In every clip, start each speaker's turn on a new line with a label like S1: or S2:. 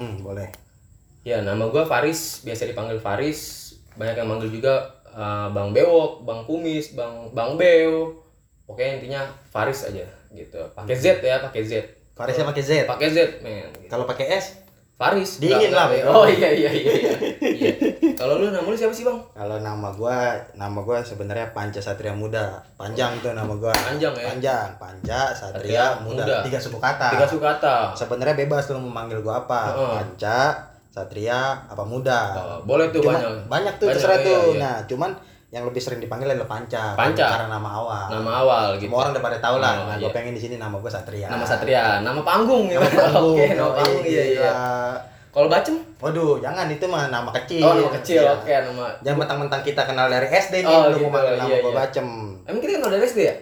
S1: Hmm,
S2: boleh
S3: Ya, nama gue Faris, biasa dipanggil Faris. Banyak yang manggil juga eh, Bang Bewok, Bang Kumis, Bang Bang Beo. Pokoknya intinya Faris aja gitu. Pakai
S1: Hmm.
S3: Z ya, pakai Z.
S1: Farisnya pakai Z.
S3: Pakai Z, men. Gitu.
S1: Kalau pakai S,
S3: Faris.
S1: Dingin
S3: nggak-
S1: lah,
S3: nggak-
S1: Bang.
S3: Oh iya iya iya. iya. Iya. Kalau lu nama lu siapa sih, Bang?
S1: kalau nama gua, nama gua sebenarnya Panca Satria Muda. Panjang tuh nama gua.
S3: Panjang ya?
S1: Panjang, Panca
S3: Satria
S1: Satria Muda.
S3: Muda.
S1: Tiga suku kata.
S3: Tiga Sukata.
S1: Sebenarnya bebas lu mau manggil gua apa.
S3: Heeh.
S1: Panca, Satria, apa Muda.
S3: Oh, boleh tuh
S1: Cuma-
S3: banyak.
S1: Banyak tuh
S3: Banyak,
S1: terserah
S3: iya,
S1: tuh.
S3: iya.
S1: Nah, cuman yang lebih sering dipanggil adalah Panca.
S3: Panca.
S1: Karena nama awal.
S3: Nama awal gitu.
S1: Semua orang udah pada tahu lah.
S3: Oh,
S1: nah,
S3: iya.
S1: gua pengen di sini nama gua Satria.
S3: Nama Satria, nama panggung ya. Oke, nama panggung iya iya. Kalau Bacem?
S1: Waduh, jangan itu mah nama kecil.
S3: Oh, nama kecil.
S1: Iya.
S3: Oke, nama
S1: Jangan mentang-mentang kita kenal dari SD nih,
S3: Oh,
S1: lu
S3: gitu,
S1: mau manggil nama
S3: iya,
S1: gua
S3: iya.
S1: bacem.
S3: Emang kita kenal dari SD ya?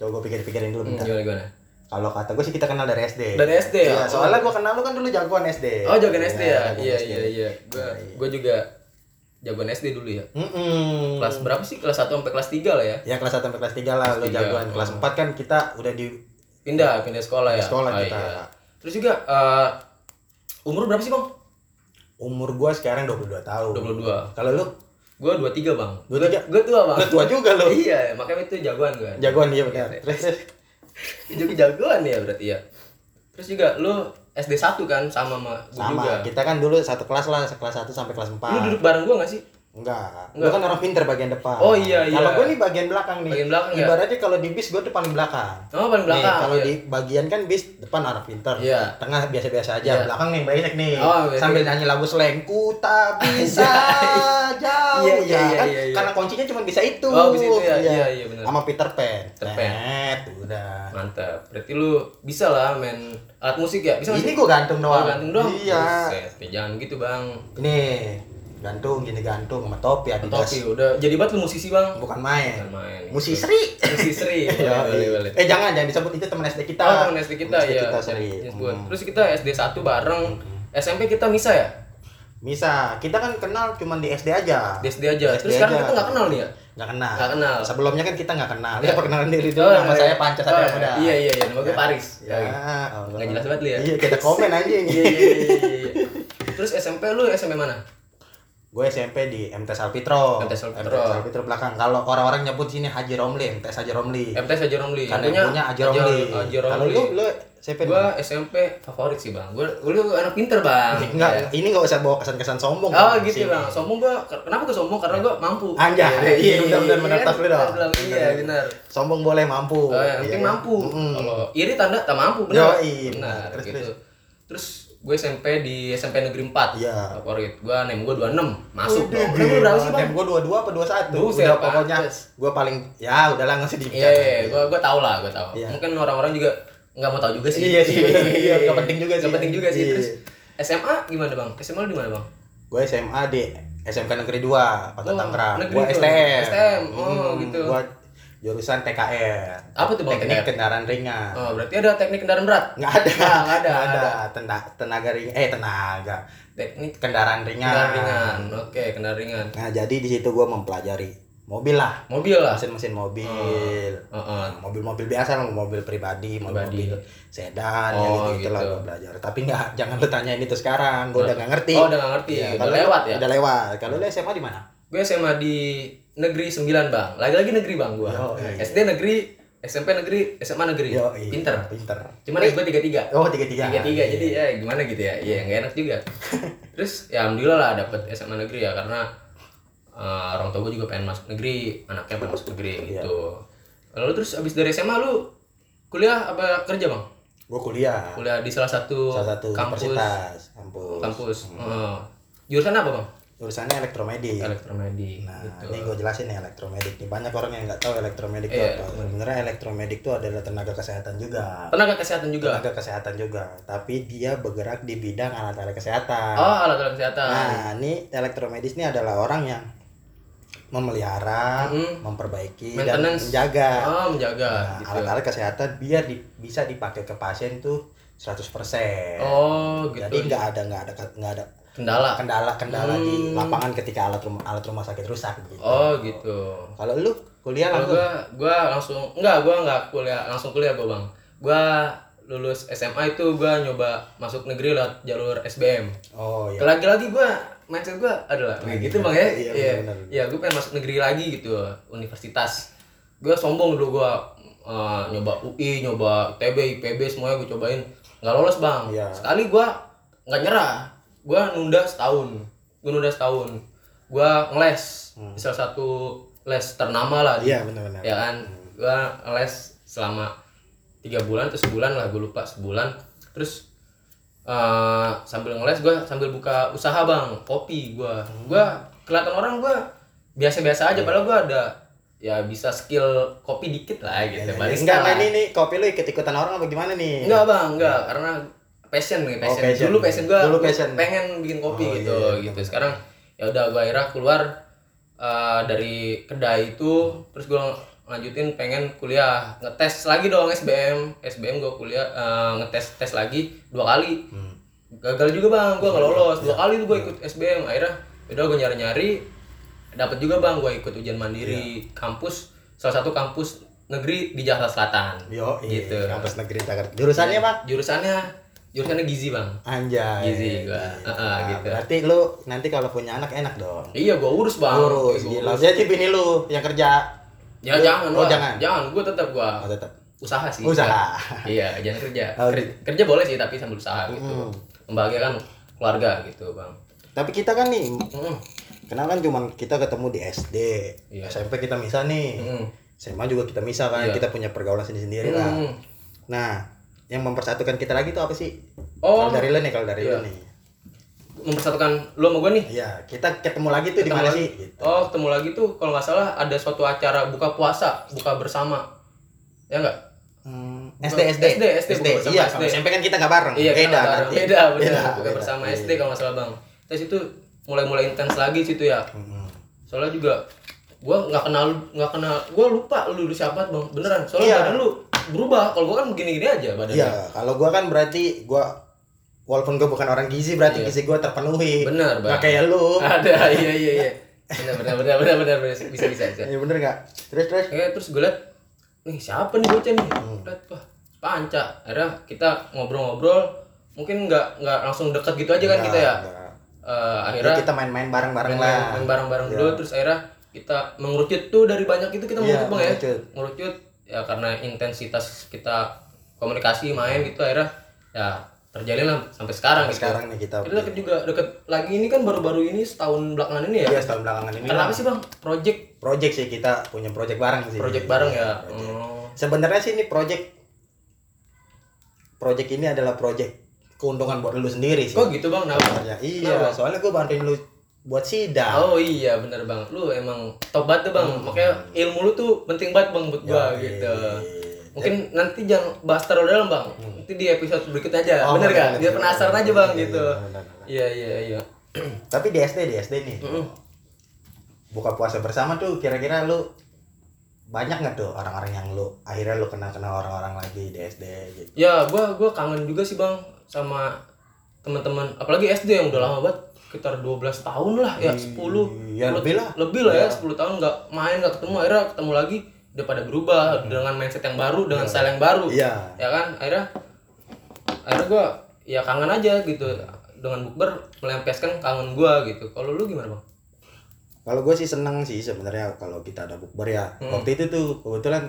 S1: Coba gua pikir-pikirin dulu
S3: Hmm,
S1: bentar.
S3: gimana gimana?
S1: Kalau kata gua sih kita kenal dari SD.
S3: Dari SD ya?
S1: Iya,
S3: Oh.
S1: soalnya gua kenal lu kan dulu jagoan SD.
S3: Oh jagoan SD ya?
S1: jagoan Nah,
S3: Iya
S1: SD.
S3: iya iya. Gua gua juga jagoan SD dulu
S1: Hmm.
S3: ya.
S1: Mm-mm.
S3: Kelas berapa sih? Kelas 1 sampai kelas 3 lah ya.
S1: Ya kelas 1 sampai kelas 3 lah lu
S3: tiga. Oh.
S1: jagoan. Kelas 4 kan kita udah di
S3: Pindah pindah sekolah ya.
S1: Sekolah
S3: Oh,
S1: kita.
S3: iya. Terus juga eh, umur berapa sih, Bang?
S1: umur gua sekarang 22 tahun.
S3: 22.
S1: Kalau lu
S3: Gua 23, Bang.
S1: 23?
S3: Gua tua, Bang.
S1: lu tua juga lu.
S3: Iya, makanya itu jagoan gua.
S1: Jagoan dia benar.
S3: Iya,
S1: Terus terus.
S3: Jadi jagoan ya berarti ya. Terus juga lu SD 1 kan sama sama gua juga.
S1: sama kita kan dulu satu kelas lah kelas 1 sampai kelas 4
S3: Lu duduk bareng gua gak sih?
S1: Enggak. Lu kan orang pinter bagian depan.
S3: Oh, iya, iya.
S1: Kalau gue nih bagian belakang nih.
S3: Bagian belakang, ya?
S1: Ibaratnya kalau di bis gue tuh paling belakang.
S3: Sama paling belakang.
S1: Nih, kalau
S3: iya.
S1: di bagian kan bis depan orang pinter.
S3: Iya.
S1: Tengah biasa-biasa aja.
S3: Iya.
S1: Belakang nih brengsek nih.
S3: Oh, brengsek.
S1: Sambil nyanyi lagu slang. Ku tak bisa jauh.
S3: Iya, iya,
S1: Ya,
S3: iya,
S1: kan?
S3: iya, iya.
S1: Karena kuncinya cuma bisa itu.
S3: Oh, bisa itu ya. Iya, iya, benar.
S1: Sama Peter Pan.
S3: Peter Pan.
S1: Net, udah.
S3: Mantap. Berarti lu bisa lah main alat musik ya? Bisa nggak
S1: Ini
S3: sih?
S1: gue gantung
S3: Oh,
S1: doang.
S3: gantung dong.
S1: Iya.
S3: Buset, ya jangan gitu, Bang.
S1: Nih, gantung gini gantung sama topi Adidas.
S3: Topi udah jadi banget lu musisi, Bang.
S1: Bukan main.
S3: Bukan main.
S1: Musisi Sri.
S3: Musisi Sri.
S1: Iya,
S3: Boleh, boleh,
S1: iya.
S3: boleh.
S1: Eh jangan jangan disebut itu teman SD kita.
S3: Oh, teman SD kita
S1: Teman
S3: ya.
S1: Kita Sri.
S3: jangan disebut.
S1: Hmm.
S3: Terus kita SD 1 bareng. SMP kita misah ya?
S1: Misa, kita kan kenal cuma di SD Ah, aja.
S3: Di SD aja. Terus sekarang kita nggak kenal nih ya?
S1: Nggak kenal.
S3: Nggak kenal.
S1: Sebelumnya kan kita nggak kenal. Kita
S3: Iya.
S1: perkenalan diri dulu. Nama
S3: iya.
S1: saya Panca Satria
S3: Oh,
S1: Muda.
S3: Iya, iya, iya. Nama gue Paris.
S1: Ya. Allah.
S3: Nggak jelas banget lu ya?
S1: Iya, kita komen anjing.
S3: Iya, iya, iya, iya. Terus SMP lu SMP mana?
S1: Gue SMP di MTs Alpitro.
S3: MTs Alpitro.
S1: MTs Alpitro belakang. Kalau orang-orang nyebut sini Haji Romli, MTs Haji Romli.
S3: MTs Haji Romli.
S1: Karena yang punya Haji Romli.
S3: Eh, Haji
S1: Kalau
S3: Romli.
S1: lu lu SMP di
S3: Gua SMP favorit sih bang. Gua lu anak pinter bang. Ya.
S1: Enggak, ini enggak usah bawa kesan-kesan sombong.
S3: Oh
S1: Bang,
S3: gitu
S1: sini.
S3: bang. Sombong gua. Kenapa gua sombong? Karena gua mampu.
S1: Anjay,
S3: Iya
S1: iya, benar-benar menatap lu dong.
S3: Iya benar.
S1: Sombong boleh mampu.
S3: Oh, yang penting
S1: Iya.
S3: mampu.
S1: Mm-mm.
S3: Kalau iri tanda tak mampu benar.
S1: Yoi,
S3: Benar.
S1: terus,
S3: gitu.
S1: terus.
S3: Terus gue SMP di SMP Negeri 4
S1: Iya.
S3: Favorit gue name gue 26 Masuk
S1: Udah,
S3: dong Nem lu berapa
S1: Tem
S3: sih bang?
S1: Iya, gua dua dua apa dua satu?
S3: Buset,
S1: Udah pokoknya
S3: pantes.
S1: gua paling ya udahlah nggak usah
S3: Iya,
S1: dibicarain.
S3: gue gue tau lah, gue tau.
S1: Iya.
S3: Mungkin orang-orang juga nggak mau tahu juga sih.
S1: Iya sih, bener. Iya, nggak penting juga
S3: Nggak
S1: sih.
S3: penting juga sih.
S1: Iya.
S3: Terus SMA gimana bang? SMA lu di mana bang?
S1: Gua SMA di SMK Negeri 2, Kota
S3: Oh,
S1: Tangerang.
S3: negeri
S1: Gua
S3: dua.
S1: STM.
S3: STM, oh, gitu.
S1: Gua jurusan TKR.
S3: Apa tuh, Bang,
S1: Teknik
S3: TKR?
S1: kendaraan ringan.
S3: Oh, berarti ada teknik kendaraan berat?
S1: Nggak ada,
S3: Nggak ada,
S1: Nggak
S3: ada.
S1: ada. Tenda- tenaga ringan, eh tenaga,
S3: Teknik
S1: kendaraan ringan.
S3: kendaraan ringan. Oke, kendaraan ringan.
S1: Nah, jadi di situ gua mempelajari mobil lah.
S3: Mobil lah.
S1: mesin-mesin mobil
S3: Heeh.
S1: mobil-mobil biasa lah, mobil pribadi
S3: Pribadi.
S1: mobil sedan ya
S3: Oh,
S1: gitu, gitu. lah
S3: gitu.
S1: gue belajar tapi nggak jangan lu tanya ini tuh sekarang gue udah nggak ngerti
S3: Oh, udah nggak ngerti.
S1: Iya,
S3: Udah
S1: kalau lu-
S3: lewat ya?
S1: udah lewat kalau lu SMA di mana
S3: Gue SMA di negeri 9 bang. Lagi-lagi negeri bang gue.
S1: Yoi.
S3: SD negeri, SMP negeri, SMA negeri.
S1: Yoi.
S3: Pinter.
S1: pinter
S3: Cuman gue tiga tiga.
S1: oh tiga tiga
S3: tiga tiga jadi
S1: iya.
S3: ya gimana gitu ya ya nggak enak juga terus ya alhamdulillah lah dapet SMA negeri ya karena eh, orang tua gue juga pengen masuk negeri anaknya pengen masuk negeri
S1: Iya.
S3: gitu lalu terus abis dari SMA lu kuliah apa kerja bang
S1: gue kuliah
S3: kuliah di salah satu,
S1: salah satu
S3: kampus
S1: universitas Hmm. kampus,
S3: kampus Eh, jurusan apa bang
S1: urusannya elektromedik
S3: elektromedik
S1: Nah,
S3: gitu
S1: ini gue jelasin nih elektromedik. Nih, banyak orang yang nggak tahu elektromedik itu
S3: Iya.
S1: apa. Sebenarnya elektromedik itu adalah tenaga kesehatan juga.
S3: tenaga kesehatan juga
S1: Tenaga kesehatan juga, tapi dia bergerak di bidang alat-alat kesehatan.
S3: oh alat alat kesehatan
S1: Nah, ini elektromedis ini adalah orang yang memelihara,
S3: Mm.
S1: memperbaiki dan
S3: Maintenance.
S1: menjaga
S3: oh menjaga
S1: Nah,
S3: gitu
S1: alat-alat kesehatan biar di- bisa dipakai ke pasien tuh 100%.
S3: oh gitu
S1: Jadi nggak ada nggak ada nggak ada
S3: kendala
S1: kendala-kendala di
S3: Hmm.
S1: lapangan ketika alat rumah alat rumah sakit rusak gitu.
S3: oh gitu
S1: Kalau lu kuliah langsung
S3: Kalau gua gua langsung enggak gua enggak kuliah langsung kuliah gua bang. Gua lulus SMA itu gua nyoba masuk negeri lewat jalur SBM.
S1: Oh iya.
S3: Lagi-lagi gua mindset gua adalah kayak gitu makanya
S1: Iya,
S3: iya
S1: benar,
S3: iya gua pengen masuk negeri lagi gitu universitas. Gua sombong dulu gua eh, nyoba UI, nyoba TB, IPB semuanya gua cobain nggak lolos bang.
S1: Iya.
S3: Sekali gua nggak nyerah, gua nunda setahun, gua nunda setahun, gua ngeles di salah satu les ternama lah
S1: Hmm.
S3: di
S1: Iya benar-benar.
S3: ya kan gua les selama tiga bulan atau sebulan lah gue lupa sebulan terus eh, sambil ngeles gua sambil buka usaha bang kopi gua gua kelihatan orang gua
S1: Iya.
S3: biasa-biasa aja padahal gua ada ya bisa skill kopi dikit lah gitu
S1: Ini- Iya,
S3: barista
S1: Enggak,
S3: lah.
S1: ini nih kopi lu ikut-ikutan orang apa gimana nih?
S3: Enggak bang, enggak karena passion nih passion.
S1: Iya. Oh, passion.
S3: Dulu passion gua
S1: Dulu passion.
S3: pengen bikin kopi
S1: Oh,
S3: gitu
S1: iya, iya,
S3: gitu. Sekarang ya udah gua akhirnya keluar eh, dari kedai itu, terus gua lanjutin pengen kuliah ngetes lagi dong SBM SBM gua kuliah eh, ngetes tes lagi dua kali
S1: Hmm.
S3: gagal juga bang gua nggak lolos
S1: Iya.
S3: dua kali tuh gua ikut SBM akhirnya ya udah gua nyari nyari dapat juga bang gua ikut ujian mandiri
S1: Iya.
S3: kampus salah satu kampus negeri di Jakarta Selatan
S1: Yo,
S3: gitu Iya.
S1: gitu. Kampus Negeri Jakarta. Jurusannya, Bang?
S3: jurusannya jurusannya gizi bang
S1: Anjay.
S3: Gizi gua. Heeh,
S1: Nah,
S3: gitu.
S1: Berarti lu nanti kalau punya anak enak dong.
S3: iya gua urus bang
S1: Lurus,
S3: Gua
S1: gila.
S3: urus.
S1: Jadi bini lu yang kerja.
S3: ya
S1: Lu-
S3: jangan
S1: Oh,
S3: Bang.
S1: jangan.
S3: jangan gua tetap gua
S1: Oh, tetap.
S3: usaha sih
S1: Usaha.
S3: iya jangan kerja
S1: Oh,
S3: Ker- kerja boleh sih tapi sambil usaha gitu membahagiakan keluarga gitu bang
S1: Tapi kita kan nih
S3: Mm.
S1: kenal kan cuman kita ketemu di SD.
S3: Iya.
S1: SMP kita misah nih.
S3: Mm.
S1: SMA juga kita misah kan.
S3: Iya.
S1: Kita punya pergaulan sendiri-sendiri lah.
S3: Mm.
S1: Nah, yang mempersatukan kita lagi itu apa sih?
S3: Oh.
S1: Kalau dari lu nih, kalau dari
S3: Iya.
S1: lu nih.
S3: mempersatukan lu sama gua nih
S1: Iya, kita ketemu lagi tuh di
S3: Ketemu
S1: mana
S3: lagi.
S1: sih? Gitu.
S3: oh ketemu lagi tuh kalau nggak salah ada suatu acara buka puasa buka bersama ya enggak
S1: Hmm,
S3: Bukan-
S1: SD SD
S3: SD, SD, bukan bersama
S1: iya
S3: SD.
S1: kalau SMP kan kita nggak bareng
S3: Iya,
S1: beda
S3: beda,
S1: nanti.
S3: beda, beda, Bukan
S1: beda. Iya,
S3: bersama SD kalau nggak salah bang. Terus itu mulai-mulai intens lagi situ ya.
S1: Mm-mm.
S3: Soalnya juga gua nggak kenal nggak kenal gua lupa lu, lu siapa bang beneran soalnya
S1: Iya.
S3: badan lu berubah kalau gua kan begini-gini aja badannya
S1: Iya, kalau gua kan berarti gua walaupun gua bukan orang gizi berarti
S3: Iya.
S1: gizi gua terpenuhi.
S3: Bener, Bang.
S1: Nggak kayak lu.
S3: ada iya iya iya bener bener bener bener bener, bener. bisa bisa bisa
S1: Iya bener nggak? Terus terus.
S3: Oke, terus gue liat, nih siapa nih bocah nih? Liat, wah, panca. Akhirnya kita ngobrol-ngobrol, mungkin nggak nggak langsung deket gitu aja kan
S1: Nggak,
S3: kita ya.
S1: nggak.
S3: Eh,
S1: Ya,
S3: akhirnya
S1: kita main-main bareng-bareng lah.
S3: main bareng-bareng dulu, terus akhirnya kita mengerucut tuh dari banyak itu kita
S1: Iya,
S3: mengerucut bang ya.
S1: mengerucut.
S3: Mengerucut ya karena intensitas kita komunikasi main gitu akhirnya ya terjalin lah sampai sekarang gitu.
S1: Sekarang nih kita.
S3: Kita deket juga deket lagi ini kan baru-baru ini setahun belakangan ini ya.
S1: Iya, setahun belakangan ini.
S3: Kenapa sih bang? Project
S1: Project sih kita punya project bareng sih.
S3: project bareng ya.
S1: Iya, Project.
S3: Oh.
S1: Sebenarnya sih ini project project ini adalah project keuntungan buat lu sendiri sih.
S3: Kok gitu bang? Kenapa?
S1: Sebenarnya. Iya,
S3: Kenapa?
S1: soalnya gua bantuin lu buat sidang.
S3: Oh iya bener bang, lu emang top banget tuh bang,
S1: Iya.
S3: makanya ilmu lu tuh penting banget bang buat gua
S1: Yoi.
S3: gitu. Mungkin nanti jangan bahas terlalu dalam bang, nanti di episode berikutnya aja,
S1: Hmm. Oh,
S3: bener
S1: bener,
S3: gak?
S1: bener,
S3: Biar
S1: bener,
S3: penasaran
S1: bener,
S3: aja bang
S1: bener,
S3: gitu.
S1: bener, bener, bener.
S3: Iya iya iya.
S1: Tapi di SD, di SD nih. Buka puasa bersama tuh kira-kira lu banyak nggak tuh orang-orang yang lu akhirnya lu kenal kenal orang-orang lagi di SD gitu.
S3: Ya gua gua kangen juga sih bang sama teman-teman, apalagi SD yang udah lama banget, sekitar 12 tahun lah ya, 10
S1: Iya, lebih lah.
S3: lebih lah ya 10 tahun nggak main nggak ketemu akhirnya ketemu lagi udah pada berubah dengan mindset yang baru dengan style yang baru
S1: Hmm. Iya.
S3: ya kan akhirnya akhirnya gua ya kangen aja gitu dengan bukber melampiaskan kangen gua gitu kalau lu gimana bang
S1: Kalau gue sih seneng sih sebenarnya kalau kita ada bukber ya.
S3: Mm.
S1: Waktu itu tuh kebetulan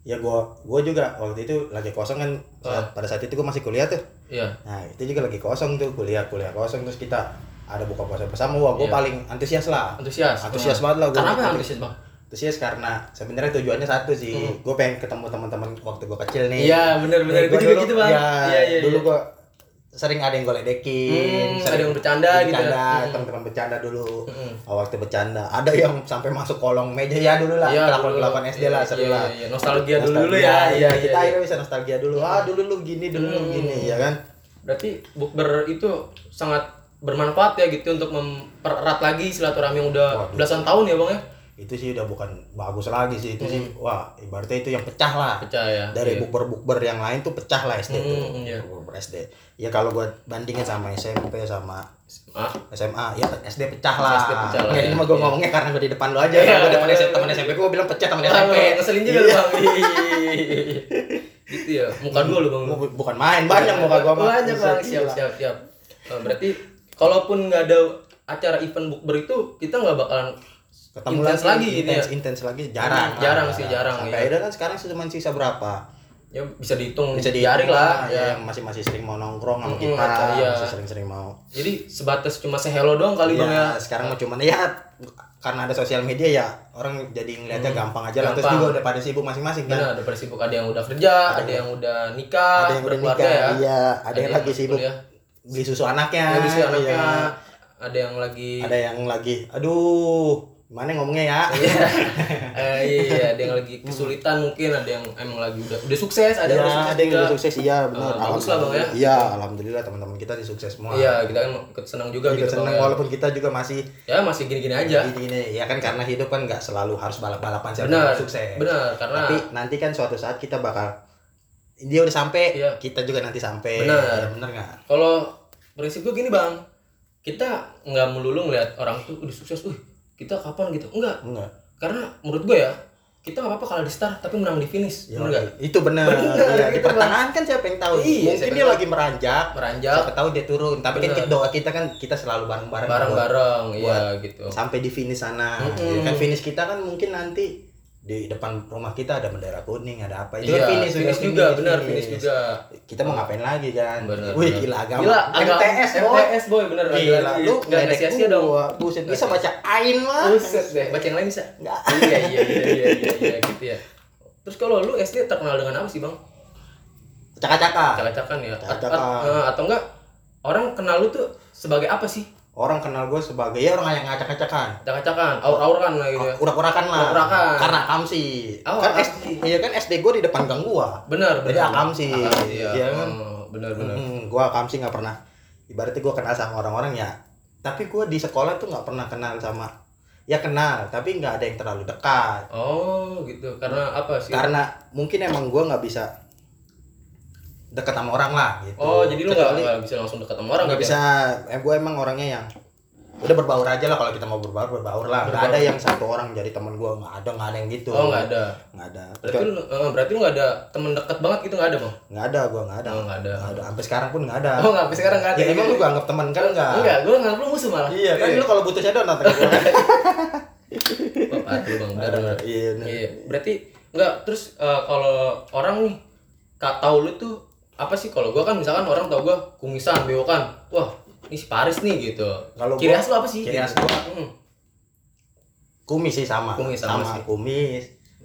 S1: ya gua gua juga waktu itu lagi kosong kan
S3: Ah.
S1: saat- pada saat itu gua masih kuliah tuh.
S3: iya
S1: Nah, itu juga lagi kosong tuh kuliah kuliah kosong terus kita ada buka puasa bersama wah gua paling antusias lah.
S3: Iya. antusias
S1: Antusias banget lah gua.
S3: kenapa antusias bang Hmm.
S1: antusias karena sebenarnya tujuannya satu sih gue pengen ketemu teman-teman waktu gue kecil nih
S3: iya bener bener
S1: Nih,
S3: gua
S1: gua
S3: juga
S1: dulu-
S3: gitu bang
S1: ya,
S3: iya iya
S1: dulu
S3: iya
S1: gue sering ada yang gue ledekin
S3: Hmm,
S1: sering
S3: ada yang bercanda gitu Hmm. ya.
S1: bercanda, teman-teman bercanda dulu Oh, waktu bercanda ada yang sampai masuk kolong meja ya dulu lah
S3: Iya,
S1: kelakuan
S3: dulu.
S1: kelakuan SD lah
S3: Iya,
S1: seru
S3: iya,
S1: lah
S3: iya. nostalgia dulu dulu ya
S1: iya, kita akhirnya bisa nostalgia dulu ah
S3: Hmm.
S1: dulu lu gini dulu lu gini ya kan
S3: Berarti bukber itu sangat bermanfaat ya gitu untuk mempererat lagi silaturahmi yang udah belasan tahun ya bang ya
S1: itu sih udah bukan bagus lagi sih itu sih
S3: Hmm.
S1: wah ibaratnya itu yang pecah lah
S3: pecah ya
S1: dari bukber-bukber yang lain tuh pecah lah SD tuh
S3: Hmm, iya.
S1: bukber SD ya kalau gue bandingin sama SMP sama
S3: ah
S1: SMA ya SD pecah lah
S3: SD pecah lah,
S1: ya, ini
S3: ya.
S1: mah gue ngomongnya karena gue di depan lo aja
S3: Iya.
S1: Iya. Kalau gue depan SMP teman SMP gue bilang pecah teman SMP
S3: ngeselin juga lu bang iya, Gitu ya. Muka dua lu bang.
S1: Bu- bukan main banyak muka gua mah.
S3: Iya. Banyak bang.
S1: Buset,
S3: Siap
S1: gila.
S3: siap siap. Eh, Berarti kalaupun nggak ada acara event bukber itu kita nggak bakalan
S1: Ketemu
S3: intens lagi ini ya.
S1: intens, intens lagi jarang.
S3: Hmm, jarang sih, jarang,
S1: Sampai
S3: iya.
S1: akhirnya kan sekarang cuma sisa berapa?
S3: Ya bisa dihitung.
S1: Bisa
S3: diarik lah.
S1: ya,
S3: Ya.
S1: yang masih masih sering mau nongkrong sama
S3: Mm,
S1: kita,
S3: iya.
S1: masih sering-sering mau.
S3: Jadi sebatas cuma sehelo doang kali bang ya.
S1: Ya, sekarang mah cuman ya karena ada sosial media ya orang jadi ngeliatnya gampang aja lah terus
S3: Hmm, gampang.
S1: juga udah pada sibuk masing-masing kan.
S3: Benar, ada pada sibuk ada yang udah kerja, ada yang udah nikah,
S1: Iya. ada yang udah
S3: berkeluarga
S1: nikah,
S3: ya.
S1: iya, ada yang lagi sibuk
S3: kuliah.
S1: beli susu anaknya,
S3: Ada sih anaknya,
S1: iya.
S3: ada yang lagi
S1: ada yang lagi aduh gimana ngomongnya ya
S3: Iya. eh, iya, ada yang lagi kesulitan mungkin, ada yang emang lagi udah udah sukses, ada
S1: ada,
S3: yang udah sukses
S1: Iya, ada yang
S3: juga.
S1: udah sukses iya benar
S3: Eh, bagus lah, Bang, ya.
S1: iya alhamdulillah teman-teman kita sih sukses semua
S3: Iya, kita kan ikut senang juga
S1: Kita
S3: gitu Bang,
S1: Iya, senang
S3: ya.
S1: walaupun kita juga masih
S3: Ya masih gini-gini aja.
S1: gini gini ya kan karena hidup kan nggak selalu harus balap balapan siapa yang
S3: Benar.
S1: sukses
S3: Benar, karena
S1: tapi nanti kan suatu saat kita bakal dia udah sampai
S3: Iya.
S1: kita juga nanti sampai
S3: Benar.
S1: Ya, benar nggak
S3: kalau prinsip gue gini, Bang. Kita nggak melulu ngeliat orang tuh udah sukses, uh, kita kapan gitu. Enggak,
S1: enggak
S3: karena menurut gue ya, kita nggak apa-apa kalah di start tapi menang di finish.
S1: Ya,
S3: Bener nggak?
S1: itu benar
S3: Benar,
S1: Iya,
S3: gitu,
S1: di pertengahan kan siapa yang tahu
S3: Iya,
S1: mungkin
S3: siapa
S1: dia
S3: yang
S1: lagi meranjak
S3: Meranjak
S1: siapa tahu dia turun tapi kan
S3: Benar.
S1: kita- doa kita kan kita selalu bareng bareng
S3: bareng-bareng, iya
S1: buat-
S3: gitu.
S1: sampai di finish sana
S3: Mm-mm.
S1: Ya kan finish kita kan mungkin nanti di depan rumah kita ada bendera kuning ada apa itu
S3: Iya,
S1: kan finish,
S3: finish,
S1: udah
S3: juga, benar finish juga.
S1: kita mau ngapain lagi kan
S3: Bener,
S1: wih
S3: bener.
S1: gila agama
S3: Gila, agama-
S1: MTS boy
S3: MTS boy bener lagi
S1: gila lu
S3: lagi. Iya, nggak
S1: nggak
S3: nggak sia-sia dong.
S1: buset
S3: Nggak
S1: bisa baca ain mah
S3: Buset deh, baca yang lain bisa.
S1: Nggak.
S3: iya, iya, iya, iya, iya, iya, gitu ya. Terus kalau lu SD terkenal dengan apa sih, Bang?
S1: cakak-cakak
S3: Acak-acakan ya. At- at-
S1: Acak-acakan.
S3: eh, atau enggak orang kenal lu tuh sebagai apa sih?
S1: orang kenal gue sebagai ya orang yang ngacak-ngacakan
S3: Acak-acakan, aur-auran lah gitu ya.
S1: urak-urakan lah
S3: Urak-urakan.
S1: karena kamsi
S3: Oh,
S1: kan
S3: Akamsi.
S1: SD iya kan SD gue di depan gang gua
S3: Benar,
S1: Jadi
S3: benar.
S1: akam sih.
S3: Akam sih,
S1: Iya
S3: ya.
S1: kan?
S3: Oh, Benar, benar.
S1: Hmm, gua kamsi nggak pernah. Ibaratnya gua kenal sama orang-orang ya. Tapi gua di sekolah tuh nggak pernah kenal sama ya kenal, tapi nggak ada yang terlalu dekat.
S3: Oh, gitu. Karena apa sih?
S1: Karena mungkin emang gua nggak bisa dekat sama orang lah gitu.
S3: Oh, jadi lu nggak
S1: Kecuali
S3: nggak bisa langsung dekat sama orang
S1: nggak
S3: gitu ya?
S1: bisa. Em gua emang orangnya yang udah berbaur aja lah kalau kita mau berbaur berbaur lah. Nggak
S3: Berbaur.
S1: ada yang satu orang jadi teman gua nggak ada nggak ada yang gitu.
S3: Oh, nggak ada.
S1: Nggak ada.
S3: Berarti lu, eh, berarti lu nggak ada temen dekat banget gitu nggak ada bang?
S1: Nggak ada gua nggak ada.
S3: Oh, nggak ada.
S1: Nggak ada. Sampai sekarang pun nggak ada.
S3: Oh nggak, sampai sekarang nggak ada.
S1: Ya, emang lu gak anggap teman kan nggak?
S3: Enggak, gue nggak perlu musuh malah.
S1: Iya kan lu kalau butuh shadow nonton gue.
S3: Bapak lu bang, benar. benar.
S1: Iya. bener.
S3: Iya. Berarti nggak terus eh, kalau orang nih kak tahu lu tuh apa sih kalau gua kan misalkan orang tau gua kumisan bewokan wah ini si Paris nih gitu
S1: Kalau
S3: ciri
S1: gua-
S3: khas lu apa sih
S1: ciri khas
S3: Gitu.
S1: gua-
S3: Hmm.
S1: Kumis sih sama.
S3: Kumis sama sih.
S1: kumis.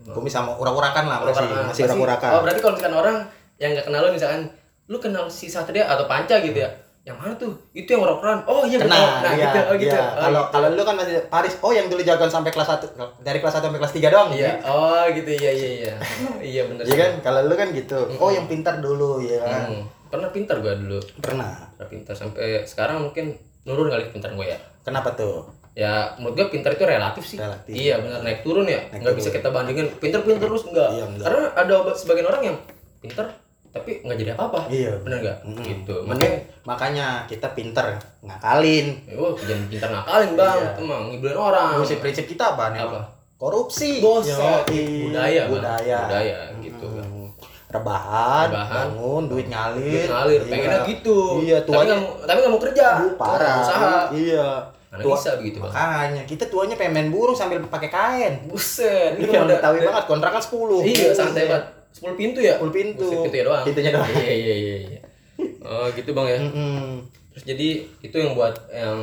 S1: Kumis sama urak-urakan lah masih
S3: Orang-
S1: masih urak-urakan.
S3: oh berarti kalau misalkan orang yang nggak kenal lu misalkan lu kenal si Satria atau Panca gitu ya yang mana tuh itu yang orang oh iya gua
S1: Kena,
S3: tahu. nah
S1: iya,
S3: gitu oh gitu
S1: iya.
S3: Oh,
S1: Kalau kalau lu kan masih Paris, oh yang dulu jagoan sampai kelas 1 dari kelas 1 sampai kelas 3 doang.
S3: Iya, oh gitu iya iya iya. iya bener.
S1: Iya kan? Kalau lu kan gitu. Oh yang pintar dulu ya kan.
S3: Hmm, Pernah pintar gua dulu.
S1: Pernah.
S3: Pernah pintar sampai sekarang mungkin nurun kali pintar gua ya.
S1: Kenapa tuh?
S3: Ya menurut gua pintar itu relatif sih.
S1: Relatif.
S3: Iya bener naik turun ya.
S1: Naik
S3: nggak bisa kita bandingin pintar-pintar terus enggak.
S1: Iya, enggak.
S3: Karena ada obat sebagian orang yang pintar tapi nggak jadi apa-apa.
S1: Iya.
S3: Bener nggak?
S1: Mm-mm.
S3: Gitu. Makanya ya
S1: Mending makanya kita pintar ngakalin.
S3: Wah, jangan pintar ngakalin bang,
S1: Iya.
S3: itu mah ngibulin orang.
S1: Prinsip prinsip kita apa nih?
S3: Ah. Apa?
S1: Korupsi.
S3: Dosa.
S1: Yoi.
S3: Budaya, Bang.
S1: budaya.
S3: Budaya, gitu.
S1: Hmm. Rebahan,
S3: Rebahan.
S1: bangun, duit ngalir.
S3: ngalir,
S1: Iya.
S3: pengennya gitu.
S1: Iya,
S3: tapi
S1: tuanya
S3: nggak mau, tapi nggak mau kerja.
S1: Aduh, parah.
S3: Nggak mau Usaha.
S1: Iya.
S3: Mana
S1: Tua-
S3: bisa begitu bang?
S1: Makanya kita tuanya pengen main burung sambil pakai kain.
S3: Buset,
S1: Ini
S3: ini
S1: yang
S3: udah
S1: Betawi banget, kontrakan 10.
S3: Iya, santai banget. 10 pintu ya?
S1: 10 pintu.
S3: Buset, pintunya doang.
S1: Pintunya doang.
S3: Iya, iya, iya, iya. Oh, gitu Bang ya.
S1: Mm-mm.
S3: Terus jadi itu yang buat yang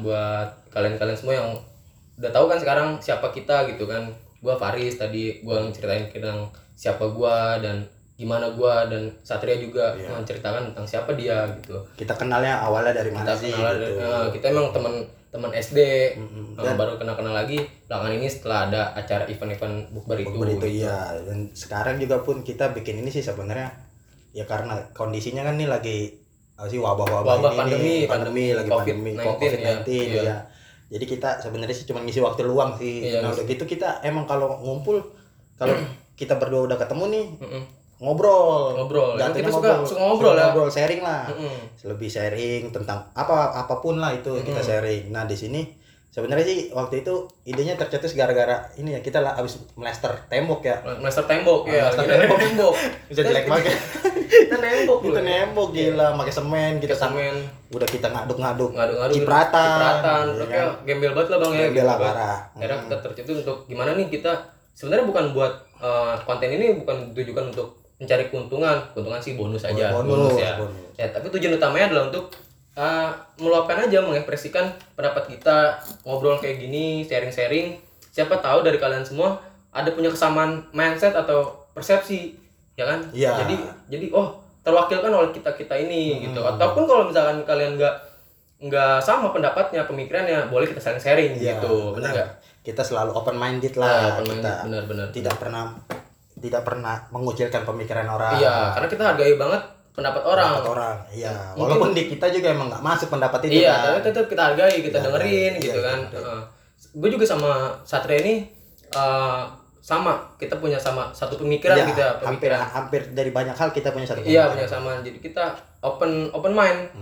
S3: buat kalian-kalian semua yang udah tahu kan sekarang siapa kita gitu kan. Gua Faris tadi gua ngeceritain tentang siapa gua dan gimana gua dan Satria juga
S1: Iya.
S3: menceritakan tentang siapa dia gitu.
S1: Kita kenalnya awalnya dari mana
S3: Kita
S1: sih?
S3: kenal
S1: gitu.
S3: eh, kita emang teman teman SD
S1: Mm-mm.
S3: eh, baru kenal-kenal lagi belakangan ini setelah ada acara event-event bukber itu. gitu.
S1: Bukber itu iya. Dan sekarang juga pun kita bikin ini sih sebenarnya ya karena kondisinya kan nih lagi apa sih wabah-wabah
S3: Wabah,
S1: ini
S3: pandemi,
S1: nih, pandemi,
S3: pandemi,
S1: lagi pandemi
S3: COVID-19,
S1: COVID-19
S3: ya.
S1: ya. Jadi kita sebenarnya sih cuma ngisi waktu luang sih.
S3: Iya,
S1: nah, udah gitu kita emang kalau ngumpul kalau kita berdua udah ketemu nih
S3: Mm-mm.
S1: ngobrol.
S3: Ngobrol. Emang
S1: Jatuhnya
S3: kita suka- suka ngobrol ya.
S1: Ngobrol sharing lah.
S3: Mm-mm.
S1: Lebih sharing tentang apa apapun lah itu kita sharing. Nah, di sini Sebenarnya sih waktu itu idenya tercetus gara-gara ini ya kita lah abis melester tembok ya.
S3: Master tembok ya,
S1: Master
S3: kita
S1: tembok.
S3: tembok.
S1: Bisa jelek banget.
S3: Kita nembok
S1: kita
S3: loh.
S1: nembok gila, pakai semen kita
S3: Kita
S1: sama
S3: samain
S1: udah kita ngaduk-ngaduk.
S3: ngadu-ngadu
S1: Gitu kan. Cipratan.
S3: cipratan
S1: Iya
S3: udah
S1: kan?
S3: kayak gembel banget lah bang ya
S1: Gembel lah,
S3: gitu kan.
S1: parah. Mm.
S3: akhirnya kita tercetus untuk gimana nih kita sebenarnya bukan buat eh, konten ini bukan ditujukan untuk mencari keuntungan keuntungan sih bonus aja
S1: Bonus,
S3: ya
S1: bonus.
S3: ya tapi tujuan utamanya adalah untuk eh, meluapkan aja mengekspresikan pendapat kita ngobrol kayak gini sharing-sharing siapa tahu dari kalian semua ada punya kesamaan mindset atau persepsi ya kan
S1: Iya. Hmm.
S3: jadi jadi oh terwakilkan oleh kita kita ini gitu ataupun kalau misalkan kalian nggak nggak sama pendapatnya pemikirannya boleh kita saling sharing
S1: Iya,
S3: gitu benar nggak
S1: Kita selalu open minded
S3: Nah,
S1: lah
S3: teman-
S1: kita.
S3: benar benar
S1: Tidak pernah tidak pernah mengucilkan pemikiran orang.
S3: iya karena kita hargai banget pendapat orang
S1: Ah. pendapat orang. Iya, walaupun di kita juga emang nggak masuk pendapat itu
S3: iya
S1: kan.
S3: tapi tetap kita hargai kita
S1: Iya,
S3: dengerin
S1: iya,
S3: gitu
S1: iya,
S3: kan gue juga sama Satria ini eh, sama kita punya sama satu pemikiran
S1: Iya,
S3: gitu ya
S1: hampir
S3: pemikiran
S1: hampir dari banyak hal kita punya satu
S3: iya
S1: pemikiran.
S3: punya kesamaan jadi kita open open mind